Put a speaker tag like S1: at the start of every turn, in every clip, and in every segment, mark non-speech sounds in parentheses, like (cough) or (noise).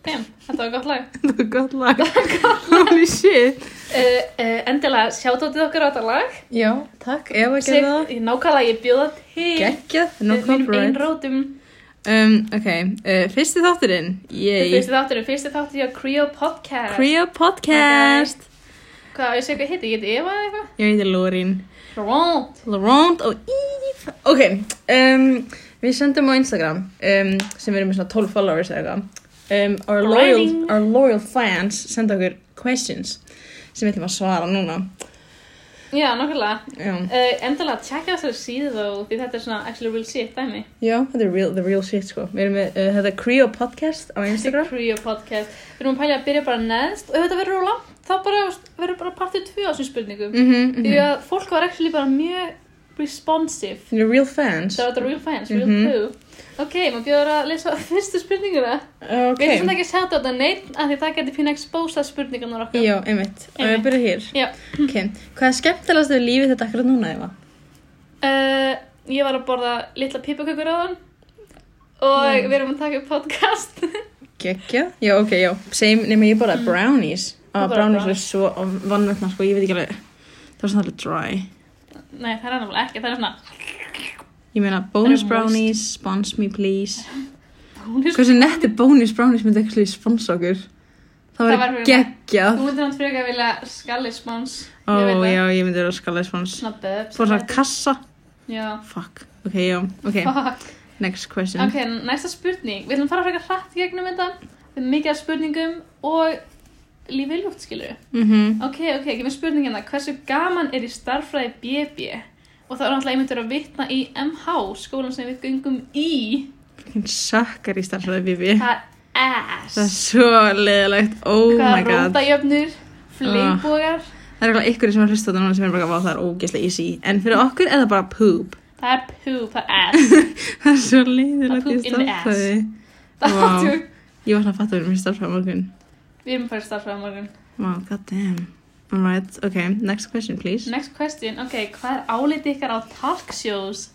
S1: þetta var gott lag.
S2: Þetta er gott lag. Holy shit.
S1: Uh, uh, endilega sjátótið okkar á þetta lag.
S2: Já, takk, Eva gerði það.
S1: Sig, nákvæmlega ég bjóða til
S2: Gekkjað, no
S1: með mínum
S2: copyright.
S1: einrótum.
S2: Um, ok, uh, fyrsti þátturinn.
S1: Þetta
S2: Yay.
S1: fyrsti þáttur er fyrsti þáttur hjá Creo Podcast.
S2: Creo Podcast.
S1: Hvað, ég sé hvað heiti, ég heiti Eva eða eitthvað?
S2: Ég heiti Lorín.
S1: Rón.
S2: Laurent og Eve. Ok, um, við sendum á Instagram um, sem við erum með svona 12 followers eða eitthvað. Um, our, loyal,
S1: Grinding.
S2: our loyal fans senda okkur questions sem við ætlum að svara núna.
S1: Já, nákvæmlega.
S2: Já.
S1: Uh, endilega, tjekka þessari síðu þó, því þetta er svona actually real shit, dæmi.
S2: Já, þetta er real, the real shit sko. Við erum með uh, þetta Creo podcast á Instagram.
S1: Creo Podcast. Við erum að pælja að byrja bara neðst og ef þetta verður á langt, þá bara verður bara partið tvö á þessum spurningum.
S2: Mm -hmm,
S1: Því að fólk var actually bara mjög responsive.
S2: You're real fans.
S1: Það var þetta real fans, real
S2: Mhm.
S1: crew Ok, maður bjóður að lesa (laughs) fyrstu spurninguna Við erum svona
S2: Ok.
S1: ekki að sjá þetta neitt af því það getur pínu exposað spurningunar okkar
S2: Já, einmitt. Og
S1: Einmitt.
S2: ég byrja hér.
S1: Já.
S2: Ok. Hvað er skemmtilegast við lífið þetta akkurat núna, Eva?
S1: uh, Ég var að borða litla pipakökur á þann og við erum að taka upp podcast (laughs)
S2: Gekja? Já, ok, já. Same, nema ég borðaði brownies.
S1: Þú
S2: Ah,
S1: borðaði
S2: brownies eru
S1: Mm. brownies.
S2: svo vannvöldna, sko, ég veit ekki alveg. Það var svona alveg dry.
S1: Nei, það er náttúrulega ekki, það er svona
S2: Ég meina, bonus
S1: moist.
S2: brownies, spons me please.
S1: bónus
S2: Hversu netti bonus brownies myndi ekki sponsa okkur? Það
S1: Það
S2: var
S1: væri-
S2: gegja.
S1: Þú myndir hann frekar vilja skalli spons
S2: Ó,
S1: Ég veit
S2: já,
S1: það.
S2: ég myndi vera að skala spons.
S1: Svona bubs
S2: Fór svona kassa.
S1: Já
S2: Fuck. Ok, já, ok.
S1: Fuck
S2: Next question.
S1: Ok, næsta spurning Við ætlum að fara frekar hratt í gegnum þetta Við erum mikið af spurningum og lífið ljúft skilur
S2: Mhm.
S1: Ok, ok, ekki með spurningina, hversu gaman er í starffræði BB? Og það er náttúrulega einmitt verið að vitna í MH, skólan sem við göngum í.
S2: Fucking suckar í starfræði, Bibi.
S1: Það er ass.
S2: Það er svo leðilegt. Oh my god. Ah.
S1: Rótajöfnur, fleibógar,
S2: Það er eitthvað ykkur sem er hlust á þetta núna sem er bara að vá það er ógeðslega easy. En fyrir okkur er það bara poop. (laughs)
S1: það er poop, það er ass.
S2: Það er svo
S1: Það
S2: leiðilegt í
S1: poop in the ass.
S2: starfræði.
S1: Það
S2: Vá.
S1: er tjók.
S2: Ég var svona að fatta verið mér starfræði á morgun.
S1: Við erum bara í starffræði á morgun.
S2: Wow, goddamn. Alright, ok. Next question, please.
S1: Next question, ok, hvað er áliti ykkar á talk shows?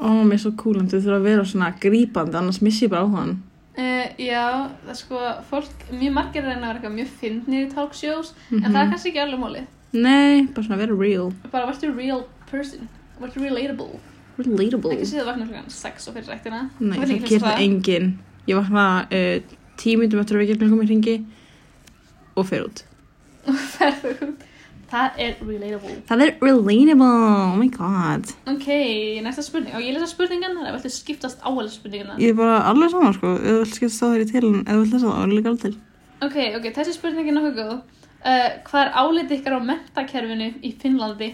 S2: Ó, mér er svo cool. Þú þurfa að vera svona grípandi, annars missi ég bara á hann.
S1: Uh, já, það er sko, fólk, mjög margir reyna að vera eitthvað mjög fyndnir í talk shows, en það er kannski ekki alveg mólið.
S2: Mhm. Nei, bara svona vera real.
S1: Bara, vartu real person, vartu relatable.
S2: Relatable.
S1: ekki séð að vakna klukkan 6 og fyrir rættina
S2: Nei,
S1: Ég veit
S2: það
S1: ekki
S2: gerir
S1: hversu
S2: það enginn. Ég vakna uh, tímundum eftir að við gegnum komið hringi og fer út.
S1: (laughs) Ferðu. það er relatable
S2: Það er relatable, oh my god.
S1: ok, næsta spurning og ég lesa spurningan þannig að viltu skiptast áhælu spurningina
S2: Ég er bara alveg saman, sko. Ef þú vilt skipta þá þér í til, en ef þú vilt lesa það, þá er líka alveg til.
S1: ok, ok, þessi spurning er nokkuð góð uh, hvað er álið ykkar á mentakerfinu í Finnlandi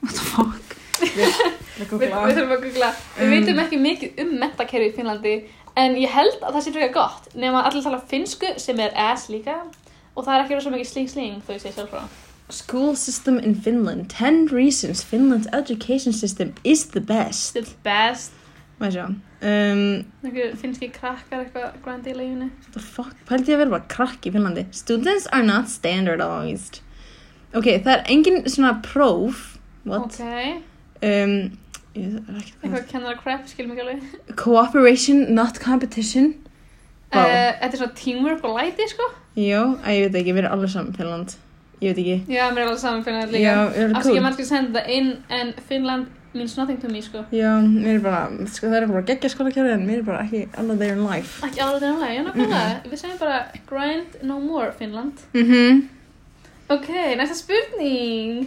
S2: What the fuck?
S1: við, við þurfum að googla við
S2: Um.
S1: veitum ekki mikið um mentakerfi í Finnlandi en ég held að það sé frekar gott nema allir tala finnsku sem er ass líka og það er ekki verið svo mikið sling sling þau sé sjálf frá
S2: (laughs) School system in Finland. 10 reasons Finland's education system is the best.
S1: the best
S2: Hvað sjá? Um,
S1: Einhver finnski krakkar eitthvað grandi í leiðinu
S2: What the fuck? Pældi ég að vera bara krakk í Finnlandi? Students are not standardized. Ok, það er engin svona próf. What?
S1: ok
S2: Um, ég það er ekkert hvað.
S1: Eitthvað kennara crap, skilum ekki alveg.
S2: Cooperation, not competition.
S1: Eh,
S2: Vá.
S1: Þetta er svona teamwork og læti, sko.
S2: Jó, að ég veit ekki, við erum alveg saman Finnland. Ég veit ekki.
S1: Já, mér er alveg saman fyrir þetta
S2: Já,
S1: líka.
S2: við erum
S1: Afsakið
S2: cool.
S1: maður skal senda það inn, en Finland means nothing to me, sko.
S2: Já, mér er bara, sko, það er bara geggja skólakjörði en mér er bara ekki alveg there in life.
S1: Ekki alveg þetta nálega, já, nákvæmlega. Við segjum bara grind no more, Finland.
S2: Mhm. Mm
S1: Ok, næsta spurning.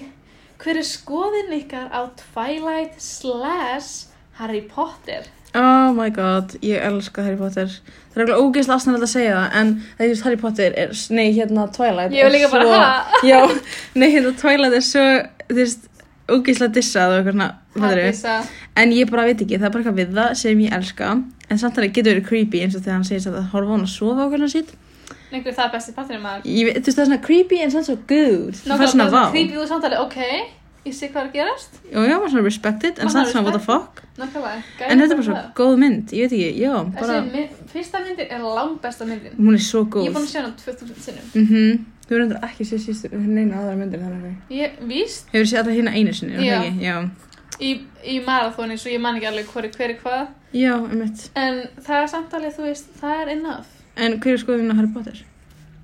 S1: Hver er skoðin ykkar á Twilight slash Harry Potter?
S2: Oh my god, ég elska Harry Potter. Það er eitthvað ógeðslega aðsnæðilegt að segja það, en það er just Harry Potter er, nei, hérna Twilight
S1: Ég var líka bara, ha?
S2: (laughs) Já, nei, hérna Twilight er svo, þú veist, ógeðslega dissað og eitthvað svona, hvað er
S1: Hafdísa.
S2: En ég bara veit ekki, það er bara eitthvað við það sem ég elska, en samt að það getur verið creepy eins og þegar hann segist að það horfa á hann að sofa á hvernig sitt.
S1: Einhver það er besti parturinn maður.
S2: Ég veit, þú veist, það er svona creepy en samt svo good. Það
S1: Nákvæmlega,
S2: fær svona
S1: það
S2: vá.
S1: er creepy úr samtali, ok. Ég sé hvað er að gerast.
S2: Já, já, maður svona respected, en
S1: Maður
S2: samt svona what the fuck.
S1: Nákvæmlega.
S2: En þetta er bara svo góð mynd, ég veit ekki, já, bara,
S1: Þessi mynd- fyrsta myndin er langbesta myndin.
S2: hún er svo
S1: Ég er
S2: góð.
S1: búin að sjá hana 2000 sinnum.
S2: Mm -hmm. Þú verður endur ekki sér sístu neina aðra myndir þar ekki.
S1: Ég, víst,
S2: Hefur sér alltaf hérna einu sinni, er það
S1: Já.
S2: ekki? Já.
S1: í, í marathóni, svo ég man ekki alveg hver er hver er hvað.
S2: Já, um mitt.
S1: En það er samt alveg, þú veist, það er enough.
S2: En hver er skoðun á Harry Potter?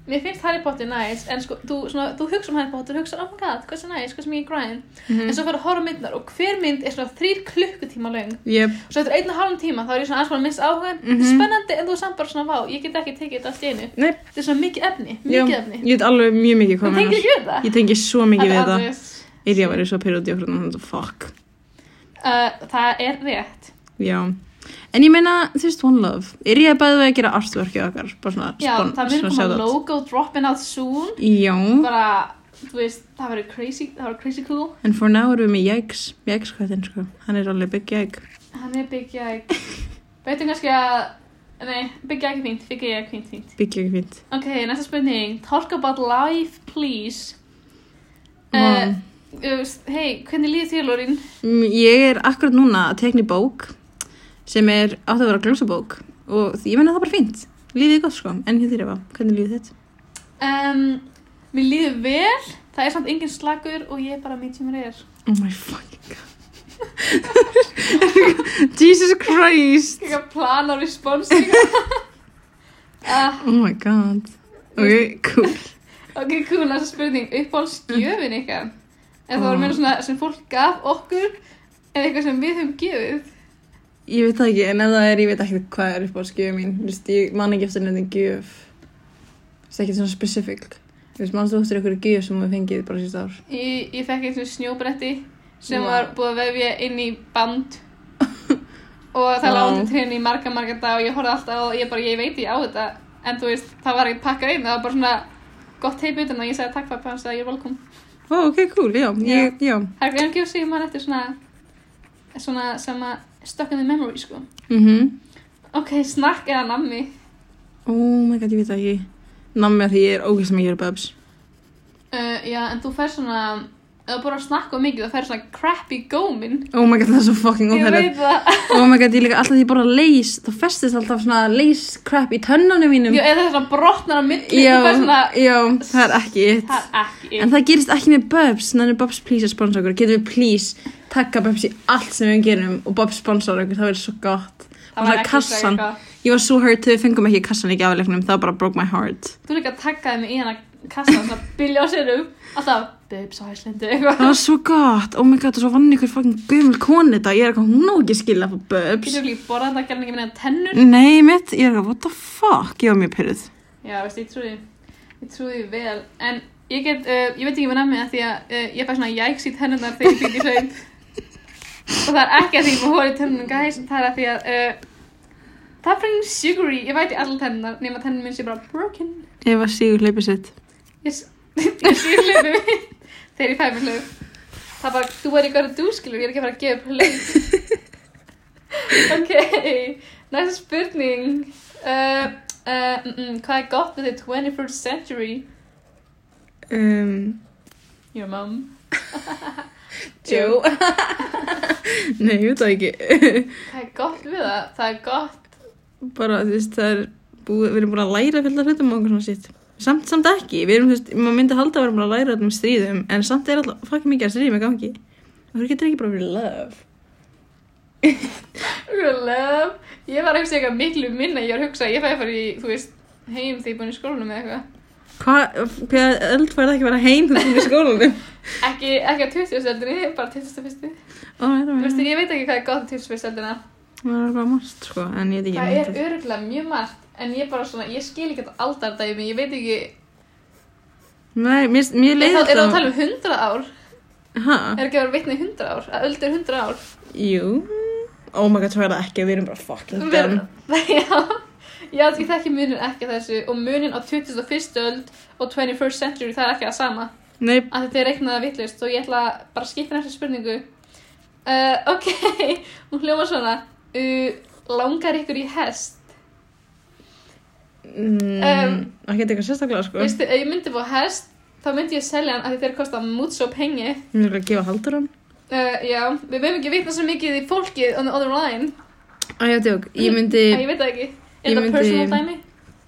S1: Mér finnst Harry Potter næs, en sko, þú, svona, þú hugsa um Harry Potter, hugsa, oh my god, hversu næs, hversu mikið grind.
S2: Mm. Mhm.
S1: En svo fyrir að horfa á myndnar og hver mynd er svona þrýr klukkutíma löng.
S2: Yep.
S1: Svo eftir einn og halvum tíma þá er ég svona aðsmála minnst áhuga. Þetta er
S2: Mhm.
S1: spennandi en þú er samt bara svona, vá, ég get ekki tekið þetta allt í einu.
S2: Nei,
S1: Þetta er svona mikið efni,
S2: já,
S1: mikið efni.
S2: ég veit alveg mjög mikið
S1: Þú
S2: hvað
S1: tengir
S2: meinar.
S1: ekki við það?
S2: Ég tengi svo mikið við
S1: Þetta
S2: það.
S1: er
S2: Yrja væri svo periódi okkur og þetta fuck.
S1: alveg- Uh, Það er rétt.
S2: Já. En ég meina, þú veist, One Love. Yrja er bæðið að gera artworkið okkar. Bara svona,
S1: Já,
S2: spon-
S1: það mun
S2: svona
S1: koma
S2: shout-out.
S1: logo dropping out soon.
S2: Já,
S1: Bara, þú veist, það verður crazy, það verður crazy cool.
S2: en for now erum við með Jæks. Jæks kvættin, sko. Hann er alveg big Jæk.
S1: Hann er byggja
S2: (laughs)
S1: ekki, veitum kannski að, nei, byggja ekki fínt, byggja ekki fínt, fínt.
S2: Big Jæk fint.
S1: Ok, næsta spurning. Talk about life, please.
S2: Vá.
S1: Uh, Hei, hvernig líður þér, Lorín?
S2: Mm, Ég er akkurat núna að tekni bók sem er átt að vera glömsabók og ég meina það er bara fínt. Lífið er gott sko, en hér þér efa, hvernig er lífið þitt?
S1: Um, mér líður vel, það er samt engin slagur og ég er bara mitt sem mér er.
S2: Oh my fucking god. (laughs) Jesus Christ.
S1: Ég er að plana responsing. (laughs) uh,
S2: Oh my god. Ok, cool.
S1: ok, cool, næsta spurning. Uppáhaldsgjöfin ykkar? Ef það voru meira svona sem fólk gaf okkur eða eitthvað sem við höfum gefið.
S2: Ég veit það ekki, en ef það er, ég veit ekki hvað er upp á skjöfum mín. Þú veist, ég man ekki eftir nefnir gjöf. Það er ekki svona specific. Þú veist, mannstu eftir einhverju gjöf sem við fengið bara síðust ár.
S1: Ég, ég fekk eins og snjóbretti sem
S2: Vá.
S1: var búið að vefja inn í band og það
S2: Vá.
S1: lág undir trénu í marga, marga dag og ég horfði alltaf og ég bara, ég veit ég á þetta en þú veist, það var ekki pakkað inn, það var bara svona gott teip utan og ég sagði takk pappi hans að ég er velkom.
S2: Ó, ok, cool, já. Ég, já.
S1: Það er einhvern veginn sem mann eftir svona, svona sem að stuck in the memory, sko.
S2: Mhm.
S1: Ok, snakk eða nammi.
S2: Oh my god, ég veit það ekki Nammi að því ég er ógæst mikið bubs
S1: Uh, já, en þú fær svona, ef þú bara snakka of mikið, þú fær svona crappy góminn.
S2: Oh my god, það er svo fucking
S1: Ég veit
S2: óþægilegt
S1: það. (laughs)
S2: Oh my god, ég líka alltaf því ég borða leys Þá festist alltaf svona leys crap í tönnunum mínum
S1: Já, eða svona brotnar á milli,
S2: já,
S1: þú fær svona,
S2: já, það er ekki it
S1: það er ekki.
S2: En það gerist ekki með bubs Þannig bubs please að sponsa okkur Getum við please taka bubs í allt sem við gerum Og bubs sponsor okkur, það verður svo gott
S1: Það
S2: Og
S1: var
S2: svona
S1: ekki svona
S2: kassan
S1: eitthvað.
S2: Ég var svo hurt þegar við fengum ekki kassan í gafleiknum Það bara broke my heart
S1: Þú líka takkaði mig í hana kassan svona bilja á sérum Alltaf, babes á Íslandi
S2: Það (laughs)
S1: eitthvað
S2: var svo gott, oh my god, og svo vann ykkur fucking gömul koni þetta, ég er eitthvað, hún á ekki skilja fyrir bubs.
S1: Getur líka borðað þetta gerðan ekki minna tennur
S2: Nei, mitt, ég er eitthvað, what the fuck, ég var mjög pyrruð.
S1: Já, veist, ég trúi Ég trúi því vel En ég get, uh, ég veit ekki hvað nefnir það Því að uh, ég fæ svona jæks í tennurnar þegar ég byggi svein Og það er ekki að því að ég hóri tennurnar gæs Það er að því að uh, Það er fræðin sugary, ég væti allar tennurnar Nefn að tennur minn sé bara broken
S2: Ef að sígur hleypið sitt.
S1: Ég, s- ég sé hlöfu Þegar ég fæ mér hlöfu Það er bara, þú er eitthvað að þú skilur Ég er ekki að fara að gefa upp hlöfu Ok, næsta spurning uh, uh, mm, mm, Hvað er gott við þið 21st century?
S2: Um,
S1: Your Um, mom
S2: (laughs) Joe. (laughs) Nei, ég veit það ekki. (laughs)
S1: Hvað er gott við það? Það er gott
S2: Bara, þú veist, það er búið, við erum búin að læra fylgta hlutum og okkur svona sitt. Samt, samt ekki, við erum, þú veist, maður myndi halda að við erum búin að læra öllum stríðum, en samt er alltaf, fuck mikið að stríðum í gangi. Það getur ekki bara verið love.
S1: Your love Ég var ekki eitthvað miklu minna Ég var að hugsa, að ég fæ að fara í, þú veist heim þegar ég er búin í skólanum eða eitthvað
S2: Hvað, hvað, öll færði ekki að vera heim þegar þú erum í
S1: (laughs)
S2: skólanum?
S1: ekki, ekki að 20. eldinni, bara 21.
S2: Ó, það er
S1: Þú
S2: bara-
S1: veist, ég veit ekki hvað er gott við 21. eldina
S2: það er bara margt, sko, en ég veit
S1: Það
S2: ekki.
S1: er öruglega mjög margt, en ég bara svona, ég skil ekki þetta aldardæmi, ég veit ekki,
S2: Nei, mér, mér
S1: er
S2: leiðist
S1: það að tala um 100 ár?
S2: Ha?
S1: Er ekki að vera vitni í 100 ár? Að öld er 100 ár?
S2: Jú Oh my god, svo er það ekki, við erum bara fucking dumb
S1: Já, (laughs) já, ég þekki munin ekki af þessu og munin á 21. öld og 21st century, það er ekki að sama.
S2: Nei,
S1: Að þetta er reiknaða vittlust og ég ætla bara að skipa næsta spurningu. Uh, (laughs) ok, hún hljóma svona, uh, langar ykkur í hest?
S2: mm,
S1: Um,
S2: ekki eitthvað sérstaklega sko
S1: Veistu, ef ég myndi fá hest, þá myndi ég selja hann að þetta er kosta mútsó pengi.
S2: Mér er að gefa haldur hann
S1: Uh, já, við mögum ekki vitna svo mikið í fólkið on the other line.
S2: Æ, ég tjók, ég myndi
S1: Mm, Æ, (laughs) ég veit það ekki. Er
S2: ég
S1: það
S2: myndi-
S1: personal dæmi?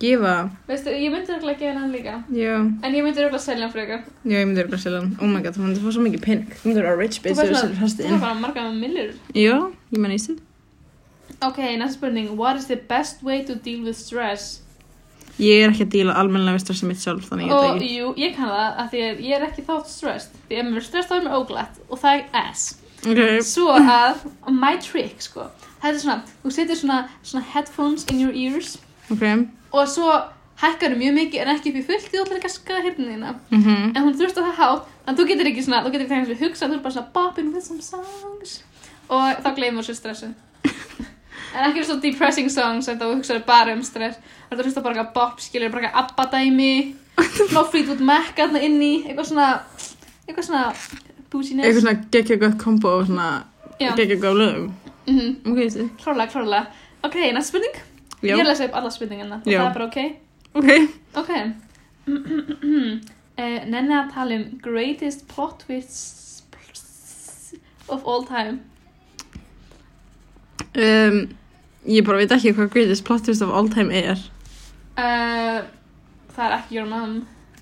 S2: gefa
S1: Veistu, ég myndi röglega gefa hann líka.
S2: Já,
S1: En ég myndi röglega selja hann frekar.
S2: já, ég myndi verið að selja hann Oh my god, þú myndi fá svo mikið pening Þú myndi vera rich
S1: Þú
S2: bitch
S1: fær
S2: þegar
S1: svona-
S2: þú selur
S1: þú
S2: hestinn
S1: fær bara marga millur.
S2: Já, ég menn í sig
S1: Ok, næsta spurning. What is the best way to deal with stress?
S2: Ég er ekki að díla almennilega við stressa mitt sjálf þannig ég
S1: Og
S2: veit ekki.
S1: jú, ég kann það að því að ég er ekki þá stressed Því ef mér er stressed þá er mér óglætt og það er ass
S2: Ok,
S1: Svo að, my trick sko Það er svona, þú setur svona, svona headphones in your ears
S2: ok.
S1: Og svo hækkar mjög mikið en ekki upp í fullt Því þú ætlar ekki að skaða hérna þína
S2: Mm
S1: En hún þurfti á það hátt Þannig að þú getur ekki svona, þú getur ekki þegar þessu hugsa Þú er bara svona bopping with some songs Og þá gleymur þessu
S2: (laughs)
S1: stressu En ekki svona depressing songs En þá hugsaðu bara um stress Það er hlusta bara eitthvað bopp, skilur bara eitthvað abba
S2: (laughs)
S1: dæmi Fló Fleetwood Mac aðna inni Eitthvað svona Eitthvað svona bouginess
S2: Eitthvað svona geggja gott kombo og svona
S1: Já.
S2: geggja gott lögum.
S1: mm
S2: Ok, þessi.
S1: Klárlega, klárlega. Ok, næst spurning.
S2: Já.
S1: Ég er að lesa upp alla spurningina og
S2: Já.
S1: það er bara ok.
S2: Ok.
S1: Ok. (clears throat) uh, nenni að tala um greatest plot twists of all time.
S2: Um, ég bara veit ekki hvað greatest plot twist of all time er.
S1: Uh, það er ekki your (laughs) mom.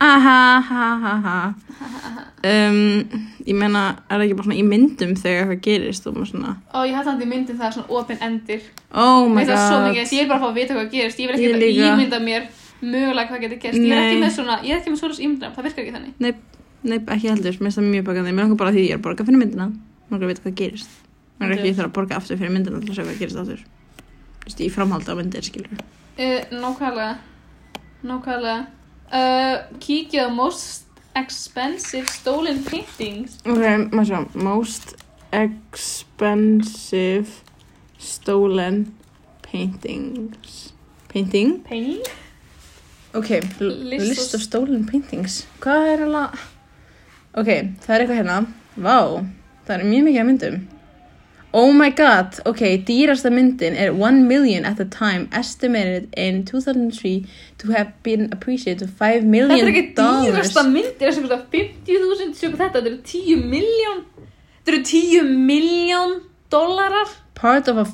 S2: Aha, ha, ha, ha. Um, ég meina, er það ekki bara svona í myndum þegar eitthvað gerist og maður svona,
S1: Og ég hætti hann í myndin það er svona open endir.
S2: oh my
S1: Mér finnst það svo
S2: god.
S1: mikið, þess að ég er bara að fá að vita hvað gerist. Ég vil
S2: Ég
S1: ekki ég
S2: líka.
S1: ímynda mér mögulega hvað getur gerst. Ég er ekki
S2: Nei.
S1: með svona, ég er ekki með svona ímyndina, það virkar ekki þannig.
S2: Nei, nei, ekki heldur, mér finnst það mjög bakandi. Mér langar bara því ég er að borga fyrir myndina. Mér langar að vita hvað gerist. Mér langar
S1: Ok.
S2: ekki að þurfa að borga aftur fyrir myndina til að sjá hvað gerist aftur. Þú veist, ég framhaldi á myndir, skilur.
S1: Uh, nákvæmlega Nákvæmlega uh, Kíkja á most expensive stolen paintings
S2: Ok, maður sjá, most expensive stolen paintings. Painting?
S1: Painting?
S2: Ok, l-
S1: List
S2: list
S1: of-
S2: of stolen paintings. Hvað er alveg... Ok, það er eitthvað hérna. Vá, það er mjög mikið af myndum. Oh my god, ok, dýrasta myndin er 1 million at the time estimated in 2003 to have been appreciated to 5
S1: Þetta
S2: million
S1: er ekki
S2: dollars.
S1: dýrasta myndir þess að kosta 50.000 sjöku þetta, þetta eru 10 miljón Þetta eru 10 miljón dólarar
S2: Part of a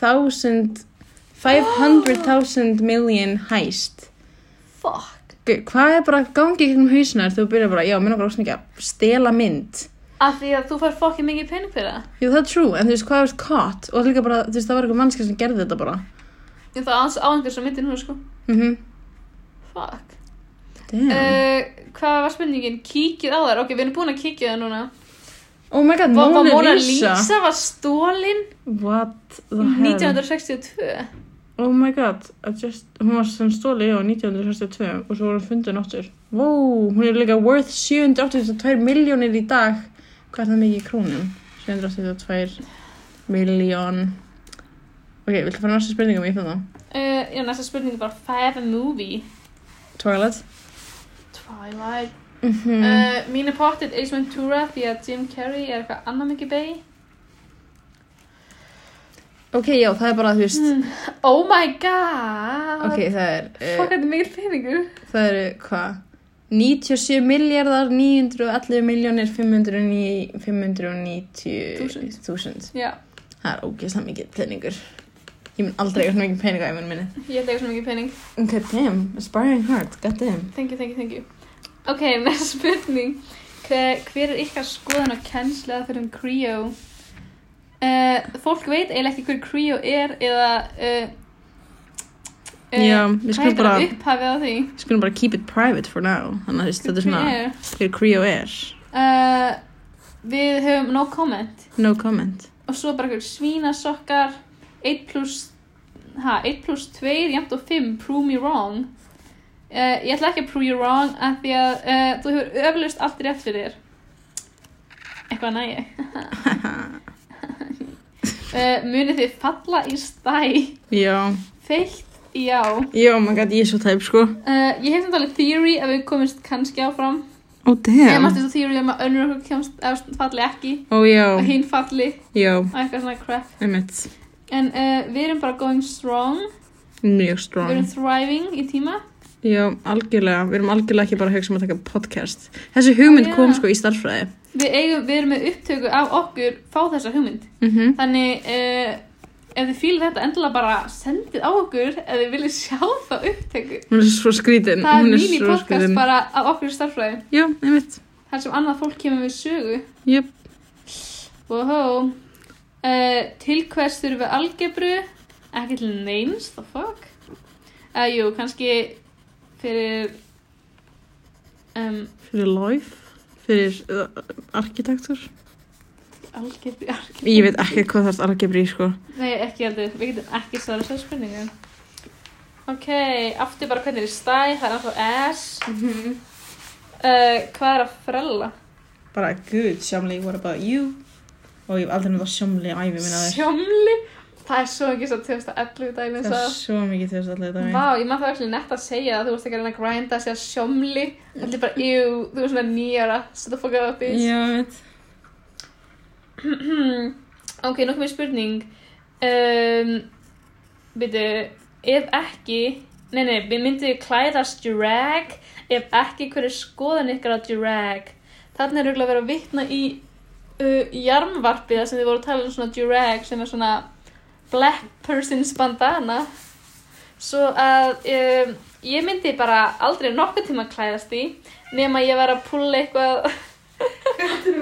S2: 500,000 500,000 million heist.
S1: Fuck
S2: Gu- Hvað er bara gangi í gegnum hausnar þú byrjar bara, já, mér langar ósum ekki að stela mynd.
S1: Af því að þú fær fokkin mikið pening fyrir það
S2: Jú, það er true, en þú veist hvað er caught og líka bara, þú veist, það var eitthvað mannskið sem gerði þetta bara.
S1: En það aðeins áhengur svo myndin hún sko
S2: Mhm.
S1: Fuck
S2: Damn.
S1: uh, Hvað var spurningin? Kíkið á þær, ok, við erum búin að kíkja á það núna
S2: oh my god,
S1: Var
S2: Mona,
S1: Mona
S2: Lisa.
S1: Lisa var stólin
S2: What the hell?
S1: 1962
S2: Oh my god, I just, hún var sem stóli á 1962 og svo var hún fundin áttur. Wow, hún er líka worth 782 miljónir í dag. Hvað er það mikið í krónum? 782 miljón. Ok, viltu fara næsta um spurningum í það?
S1: Uh, já, næsta spurning er bara Five a movie
S2: Twilight.
S1: Twilight
S2: Mm
S1: mm.
S2: -hmm.
S1: uh, Mín er pottið Ace Ventura því að Jim Carrey er eitthvað annað mikið bei
S2: ok, já, það er bara, þú veist,
S1: mm. Oh my god
S2: ok, það er... eh,
S1: Fuck, þetta er mikil peningur
S2: Það eru hvað? 97 miljardar 911 miljónir 590
S1: Þúsund.
S2: þúsund.
S1: Já,
S2: Það er ógeðslega mikið peningur. Ég mun aldrei eitthvað mikið peninga í mun minni.
S1: ég held eitthvað svo mikið pening
S2: Ok, damn, aspiring heart, god damn.
S1: Thank you, thank you, thank you Ok, (laughs) næsta spurning Hver, hver er ykkar skoðan og kennsla fyrir um Creo? Uh, fólk veit eiginlega ekki hver Creo er eða uh,
S2: Já, Eh, við
S1: Hvað
S2: skulum
S1: heitir
S2: bara,
S1: að upphafið á því?
S2: við skulum bara keep it private for now. Þannig að þú veist, þetta er svona,
S1: Creo.
S2: hver Creo er.
S1: Uh, við höfum no comment
S2: No comment.
S1: og svo bara einhver svínasokkar 1 plus ha, 1 plus 2 jæmt og 5 prove me wrong uh, ég ætla ekki að prove you wrong af því að uh, þú hefur öflust allt rétt fyrir þér eitthvað næg uh, munið þið falla í stæ
S2: Já,
S1: feitt já
S2: já, oh my god, ég er svo tæp, sko.
S1: uh, ég hef samt alveg theory ef við komumst kannski áfram
S2: Oh
S1: yeah. ég
S2: damn.
S1: mátti þessu theory um að önnur okkur kemst ef falli ekki
S2: Ó Oh, já,
S1: og hinn falli
S2: já,
S1: og eitthvað svona crap
S2: emitt.
S1: En uh, við erum bara going strong,
S2: Mjög strong.
S1: við erum thriving í tíma.
S2: Já, algjörlega. Við erum algjörlega ekki bara að hugsa um að taka podcast. Þessi hugmynd
S1: Já.
S2: kom sko í starffræði.
S1: Við, eigum, við erum með upptöku af okkur fá þessa hugmynd.
S2: Mm -hmm.
S1: Þannig uh, ef þið fílið þetta endilega bara sendið á okkur ef þið viljið sjá þá upptöku.
S2: Hún er svo skrítin.
S1: Það er
S2: Mm, Hún
S1: mini
S2: svo
S1: podcast
S2: skrítin.
S1: bara af okkur starfræði.
S2: Já, einmitt.
S1: Þar sem annað fólk kemur við sögu.
S2: Jöp.
S1: Wow. Eh, Uh, til hvers þurfum við algebru? Ekki til neins, the fuck. eða jú, kannski fyrir um,
S2: fyrir life, fyrir uh, arkitektur.
S1: algjörði
S2: Ég veit ekki hvað það er algebri, sko.
S1: Nei, ekki heldur, við getum ekki svarað þessar spurningu Ok, aftur bara hvernig er í stæ, það er alltaf S Mhm. uh, Hvað er að frella?
S2: Bara, good, sjámli, what about you? Og ég hef aldrei nefnt að sjámli æfi minna þér.
S1: Sjómli Það er svo ekki svo 2011 dæmi
S2: Það
S1: svo
S2: er svo mikið þjóðs allir þetta
S1: Vá, ég maður það ekki netta að segja það, þú veist ekki að reyna að grinda að segja sjómli Allir bara, jú, þú veist svona nýjara, svo það fokkar á því
S2: Já, ég veit.
S1: (clears throat) Ok, nú komið spurning um, Byrju, ef ekki Nei, nei, við myndum klæðast drag Ef ekki, hver er skoðan ykkar á drag? Þarna er auðvitað að vera að vitna í uh, Jarmvarpið þar sem þið voru að tala um svona drag sem er svona black person's bandana Svo að um, ég myndi bara aldrei nokkuð tíma klæðast í nema ég var að pulla eitthvað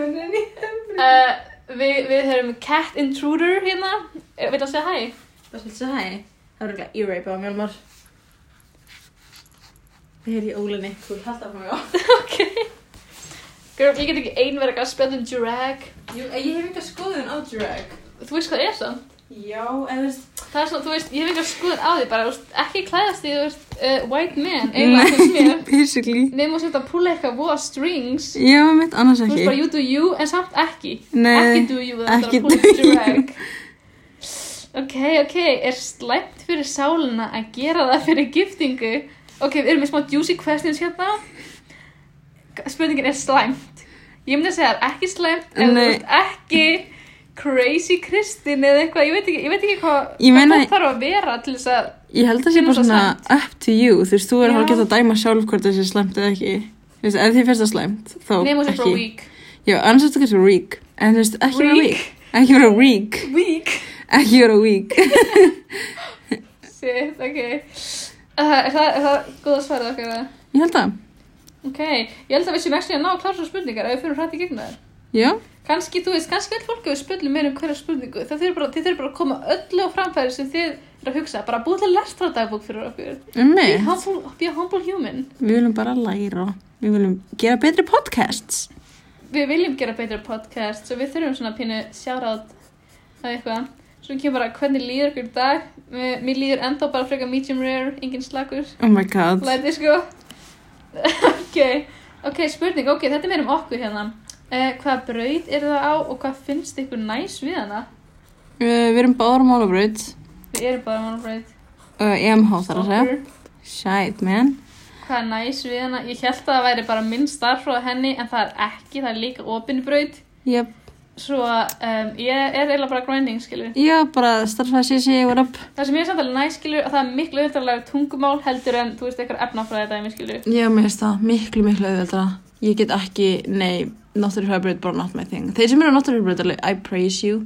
S1: Uh, við, við höfum Cat Intruder hérna Eh, Veit að segja hæ?
S2: Hvað svolítið það hæ? Það er ekki e-rape á mjölmar. Það er í ólinni. Þú er haldið á mig á.
S1: ok Girl, ég get ekki ein verið að spjalla um drag
S2: Jú, ég hef enga skoðun á drag.
S1: Þú veist hvað það er samt?
S2: Já, en þú veist...
S1: Það er svona, þú veist, ég hef ekki skoðun á því bara þú veist, Ekki klæðast því, þú veist, uh, white man Eiginlega finnst mér
S2: (laughs) basically.
S1: Nefnum að setja að púla eitthvað voða strings
S2: Já, mitt, annars
S1: Þú
S2: ekki.
S1: veist bara you do you en samt ekki
S2: Nei,
S1: Ekki do you, það er
S2: ekki
S1: að púla
S2: do you.
S1: drag Ok, ok, er slæmt fyrir sálina að gera það fyrir giftingu? Ok, við erum með smá juicy questions hérna. Spurningin er slæmt. Ég myndi að segja það er ekki slæmt en þú
S2: Nei.
S1: ert ekki crazy kristin eða eitthvað, ég veit ekki, ég veit ekki hvað
S2: Ég
S1: hvað
S2: meina-
S1: fólk þarf að vera til þess að,
S2: Ég held að það sé
S1: Finnur
S2: bara
S1: það
S2: svona up to you, þú veist, þú er
S1: Já.
S2: hálfgett að dæma sjálf hvort það sé slæmt eða ekki. Þú veist, ef þið finnst það slæmt, þá
S1: nefnum þess að frá
S2: ekki.
S1: week.
S2: Já, annars er þetta kannski reek, en þú veist, ekki vera
S1: Weak?
S2: reek. Ekki vera reek,
S1: Week?
S2: ekki vera reek.
S1: Shit, ok. Uh, er, það, er það góð að svara okkar það?
S2: Ég held að,
S1: Ok, ég held að við séum ekki að ná að klára svo spurningar ef við fyrir hrætt í gegnum þær.
S2: já,
S1: Kanski, þú veist, kannski all fólk hefur spurning meira um hverja spurningu. Það þurfir bara, þið þurfir bara að koma öllu á framfæri sem þið eru að hugsa. Bara búið til lestradagbók fyrir okkur.
S2: um
S1: Be
S2: mig.
S1: humble, be a humble human.
S2: Við viljum bara læra, við viljum gera betri podcasts.
S1: Við viljum gera betra podcast, svo við þurfum svona pínu sjárátt eða eitthvað. Svo kemur bara hvernig líður okkur í dag. Mér mér líður ennþá bara frekar medium rare, engin slagur.
S2: Oh my god.
S1: Læti sko. (laughs) ok, ok, spurning, ok, þetta er meira um okkur hérna. Uh, hvaða braut er það á og hvað finnst ykkur næs við hana?
S2: Uh, við erum báðar á málabraut,
S1: Við erum bara mannbraut.
S2: uh, EMH þar að segja. Shit, man.
S1: Hvað er næs við hana? Ég held að það væri bara minn starfróð henni en það er ekki, það er líka opinbraut.
S2: Yep.
S1: Svo um, ég er eiginlega bara grinding, skilur.
S2: Já, bara starfæða sér sér, what up?
S1: Það sem ég er samt alveg næs, skilur, að það er miklu auðvitaðlega tungumál heldur en, þú veist, eitthvað efnafræði dæmi, skilur.
S2: Já, mér finnst það miklu, miklu auðveldra. Ég get ekki, nei, náttúrufræðbraut bara not my thing. Þeir sem eru náttúrufræðbraut, alveg, I praise you.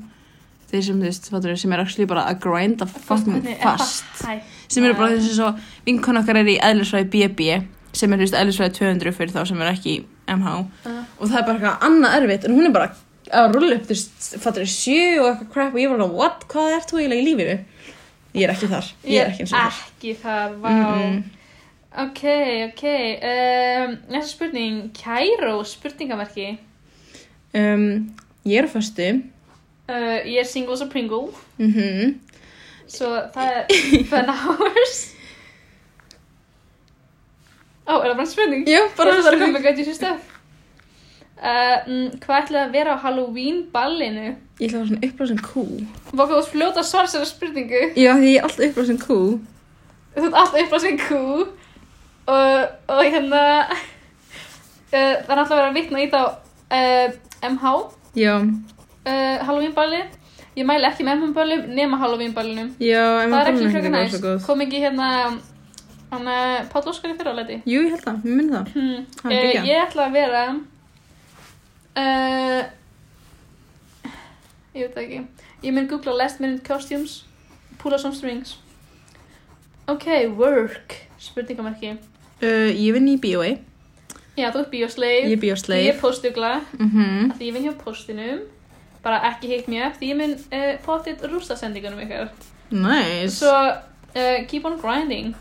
S2: Þeir sem, þú veist, fattur, sem eru actually bara að grinda fucking
S1: Hvernig er það
S2: fast.
S1: hægt?
S2: Sem eru bara þess að svo, vinkon okkar er í eðlisfræði BB, sem er, þú veist, eðlisfræði 200 fyrir þá sem eru ekki í MH.
S1: Uh.
S2: Og það er bara eitthvað annað erfitt, en hún er bara að rulla upp, þú veist, fattur, sjö og eitthvað crap og ég var alveg, what, hvað ert þú eiginlega í lífinu? Ég er ekki þar, ég er ekki eins og þar.
S1: Uh, Ekki það, vá.
S2: Mm-mm.
S1: Ok, ok. Um, næsta spurning, kæró, spurningamarki.
S2: Um, ég er á föstu,
S1: Uh, ég er single as a Pringle,
S2: mhm,
S1: svo það er (laughs) fun hours. Ó, er það bara spurning?
S2: Já, bara
S1: Ég ætla bara að koma með gæti sér stöf. Uh, mm, Hvað ætlaði að vera á Halloween ballinu?
S2: Ég ætla að vera svona upplásin kú.
S1: Vá, hvað þú ert fljóta að svara sér spurningu.
S2: Já, því ég er alltaf upplásin kú.
S1: Þú ert alltaf upp á sinn kú og, og hérna (laughs) uh, það er alltaf að vera að vitna í þá uh, MH uh,
S2: Já,
S1: Halloween balli. Ég mæli ekki með MH ballum nema Halloween ballinum.
S2: já,
S1: Það er
S2: en
S1: ekki
S2: ballinn ekkert
S1: frekar
S2: að vera
S1: næst.
S2: um svo góð.
S1: Kom ekki hérna hann uh, Páll Óskari fyrir á leti.
S2: Jú, ég held það, mér minni það.
S1: Hmm.
S2: Hann
S1: Eh,
S2: geggjað.
S1: ég ætla að vera uh, ég veit það ekki ég mynd googla last minute costumes pull out some strings ok, work spurningamarki
S2: Uh, ég vinn í BOA,
S1: já, þú ert bíosleif
S2: ég er bíosleif.
S1: ég er postugla
S2: Mhm.
S1: því ég vinn hjá postinum bara ekki hitt mér því ég mynd uh, potið rústa sendingunum ykkar
S2: Nice.
S1: svo uh, keep on grinding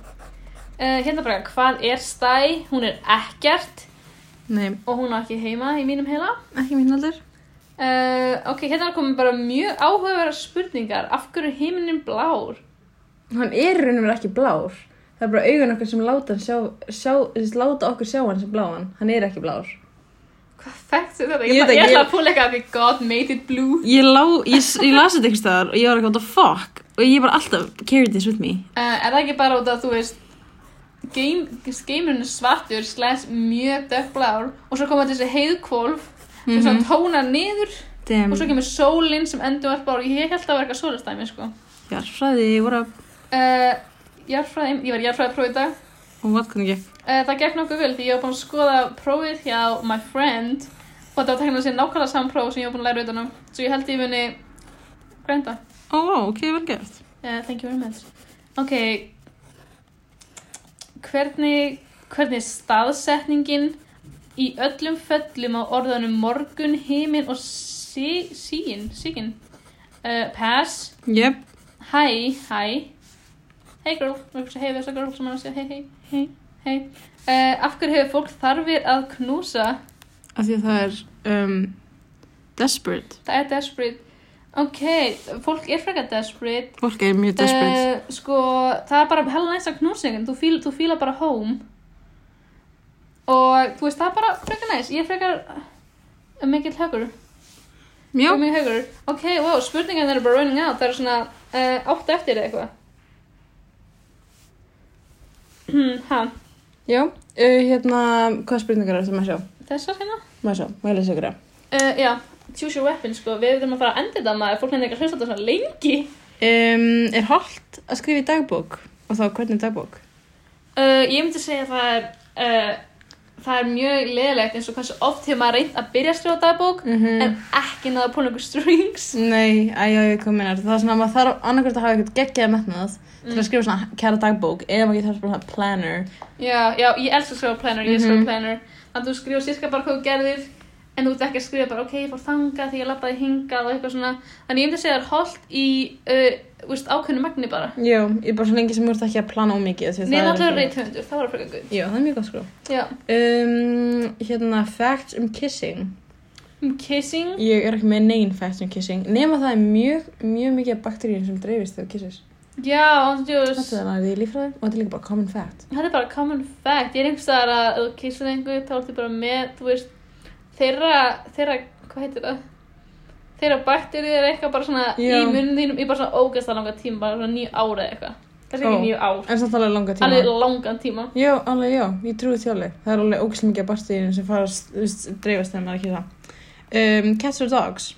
S1: Uh, hérna bara, hvað er stæ? Hún er ekkert
S2: Nei,
S1: og hún á ekki heima í mínum heila.
S2: ekki mín aldur.
S1: Uh, ok, hérna er komin bara mjög áhugaverðar spurningar. Af hverju er heiminin blár?
S2: Hann er í raun og verið ekki blár. Það er bara augun okkur sem láta, hann sjá, sjá, þess, láta okkur sjá hann sem bláan. Hann er ekki blár.
S1: Hvað fætt er þetta? Ég,
S2: Ég veit
S1: ætla- ég
S2: ekki,
S1: ætla
S2: ég-
S1: að púla eitthvað við God made it blue.
S2: Ég, lá, ég, s- ég las þetta einhvers staðar og ég var eitthvað, what the fuck? Og ég var alltaf carried this with me.
S1: Uh, er það ekki bara út af, þú veist, game, geimurinn er svartur slash mjög dökkblár og svo koma þessi heiðkvolf mm -hmm. sem tóna niður
S2: Damn,
S1: og svo kemur sólinn sem endur varpar og ég held að vera eitthvað sólastæmi, sko.
S2: jarfræði, what up?
S1: Uh, jarfræði, ég var jarfræði prófið í dag.
S2: Og what can I get?
S1: Uh, það gekk nokkuð vel því ég var búin að skoða prófið hjá my friend og þetta var teknilega sér nákvæmlega saman próf sem ég var búin að læra utanum svo ég held ég muni grænda
S2: Ó, oh, wow, ok, vel gert.
S1: uh, thank you very much ok hvernig hvernig er staðsetningin í öllum föllum á orðanum morgun, himin og sí, síin, síkin uh, pass,
S2: Yep.
S1: hi, hi hey girl, hey þessa girl sem hann sé, hey hey
S2: Hei.
S1: Hei, uh, af hverju hefur fólk þarfir að knúsa?
S2: Af því að það er um, desperate.
S1: Það er desperate. Ok, fólk er frekar desperate.
S2: Fólk er mjög desperate.
S1: Eh, sko, það er bara hella næst að knúsa einhvern, þú, fíl, þú fíla bara home. Og þú veist, það er bara frekar næst. Ég er frekar uh, mikill högur.
S2: Já,
S1: Ég er Mikill högur. Ok, wow, spurningan eru bara running out. Það eru svona uh, átt eftir eða eitthvað. Hmm, ha,
S2: já. Uh, hérna, hvaða spurningar er þetta maður sjá?
S1: þessar hérna?
S2: Maður sjá, maður lesa ykkur á.
S1: Uh, já, choose your weapon, sko. Við verðum að fara að enda þetta maður. Fólk nefnir ekki að hlusta þetta svona lengi.
S2: Um, er holdt að skrifa í dagbók? Og þá hvernig dagbók?
S1: Uh, ég myndi segja að það er, uh, það er mjög leðilegt eins og hversu oft hefur maður reynd að byrja að skrifa dagbók
S2: Mm -hmm.
S1: en ekki náða pólum ykkur strings.
S2: Nei, æjá, ég kom minnar. Það er svona að maður þarf annarkvært að hafa eitthvað geggjað metnað til að skrifa svona kæra dagbók eða maður getur svona planner.
S1: Já, já, ég elska að skrifa planner, ég skrifa
S2: Mhm.
S1: planner. Þannig að þú skrifa sírka bara hvað þú gerðir en þú ert ekki að skrifa bara, ok, ég fór þangað því ég labbaði hingað og eitthvað svona. Þannig ég myndi segja að það er holdt í, uh, veist, ákveðnu magni bara.
S2: Já, ég bara svo lengi sem þú ert ekki að plana ómikið. því það
S1: Nefn
S2: er
S1: alltaf
S2: ekki-
S1: reythöndur, það var frekar guð.
S2: Já, það er mjög gott sko.
S1: Já,
S2: Um, hérna, facts um kissing.
S1: um kissing.
S2: Ég er ekki með negin facts um kissing nema það er mjög, mjög mikið af bakteríum sem dreifist þegar þú kissist.
S1: Já, djús.
S2: Þetta er það í lífræði og þetta er líka bara common fact.
S1: Þetta er bara common fact. Ég er einhvers staðar að ef þú kissir einhver, þá ertu bara með, þú veist, þeirra, þeirra, hvað heitir það? Þeirra bakterið er eitthvað bara svona
S2: Já.
S1: í munum þínum í bara svona ógæst að langa tíma, bara svona nýju ára eða eitthvað. Kannski
S2: Ó.
S1: ekki nýju ár,
S2: En samt alveg langa tíma.
S1: alveg langan tíma.
S2: Já, alveg, já, ég trúi því alveg. Það er alveg ógæslega mikið af bakteríum sem fara að s- þú veist, dreifast þegar maður er ekki það. Um, cats or dogs?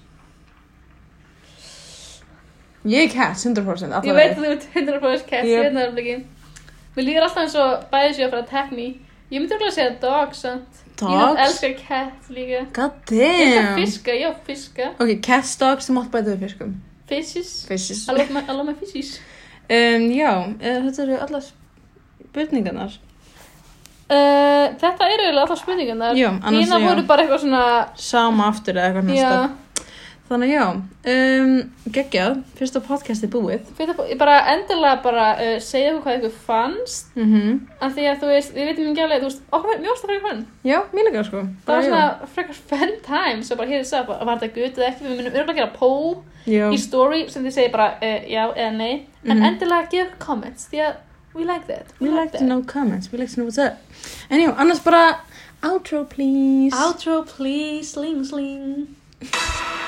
S2: Ég er cat, 100%. alla
S1: Ég veit
S2: vega.
S1: að þú ert 100% kæft,
S2: Yep.
S1: ég veit það er ekki. hérna Mér líður alltaf eins og bæðið séu að fara að tag me. Ég myndi okkur að segja dog, sant? Ég
S2: Dogs?
S1: elskar cat líka.
S2: God
S1: Ég elskar
S2: damn.
S1: fiska, já, fiska.
S2: Ok, cats, dogs, þú mátt bæta við fiskum.
S1: Fishes.
S2: Fishes.
S1: I love my, I love my fishes.
S2: Um, já, eh, þetta eru allar spurningarnar.
S1: Uh, þetta eru eiginlega alltaf spurningarnar.
S2: Já, annars
S1: Þína
S2: já.
S1: voru bara eitthvað svona
S2: Sama aftur eða eitthvað
S1: Já,
S2: næsta. Þannig já, um, geggjað, fyrsta podcasti búið.
S1: fyrir það bara endilega bara uh, segja okkur hvað ykkur fannst
S2: Mm
S1: af því að þú veist, við veitum ekki alveg þú veist, okkur var mjósta frekar fun
S2: Já, mér líka sko.
S1: það
S2: Bara
S1: var
S2: já.
S1: svona frekar fun time svo bara hér er það, bara, var þetta gutt eða ekki við munum örgulega gera poll
S2: Já,
S1: í story sem þið segir bara uh, já eða nei en
S2: Mhm.
S1: endilega gefa comments því að we like that
S2: we like to know comments, we like to know what's up. En já, annars bara outro please.
S1: outro please sling sling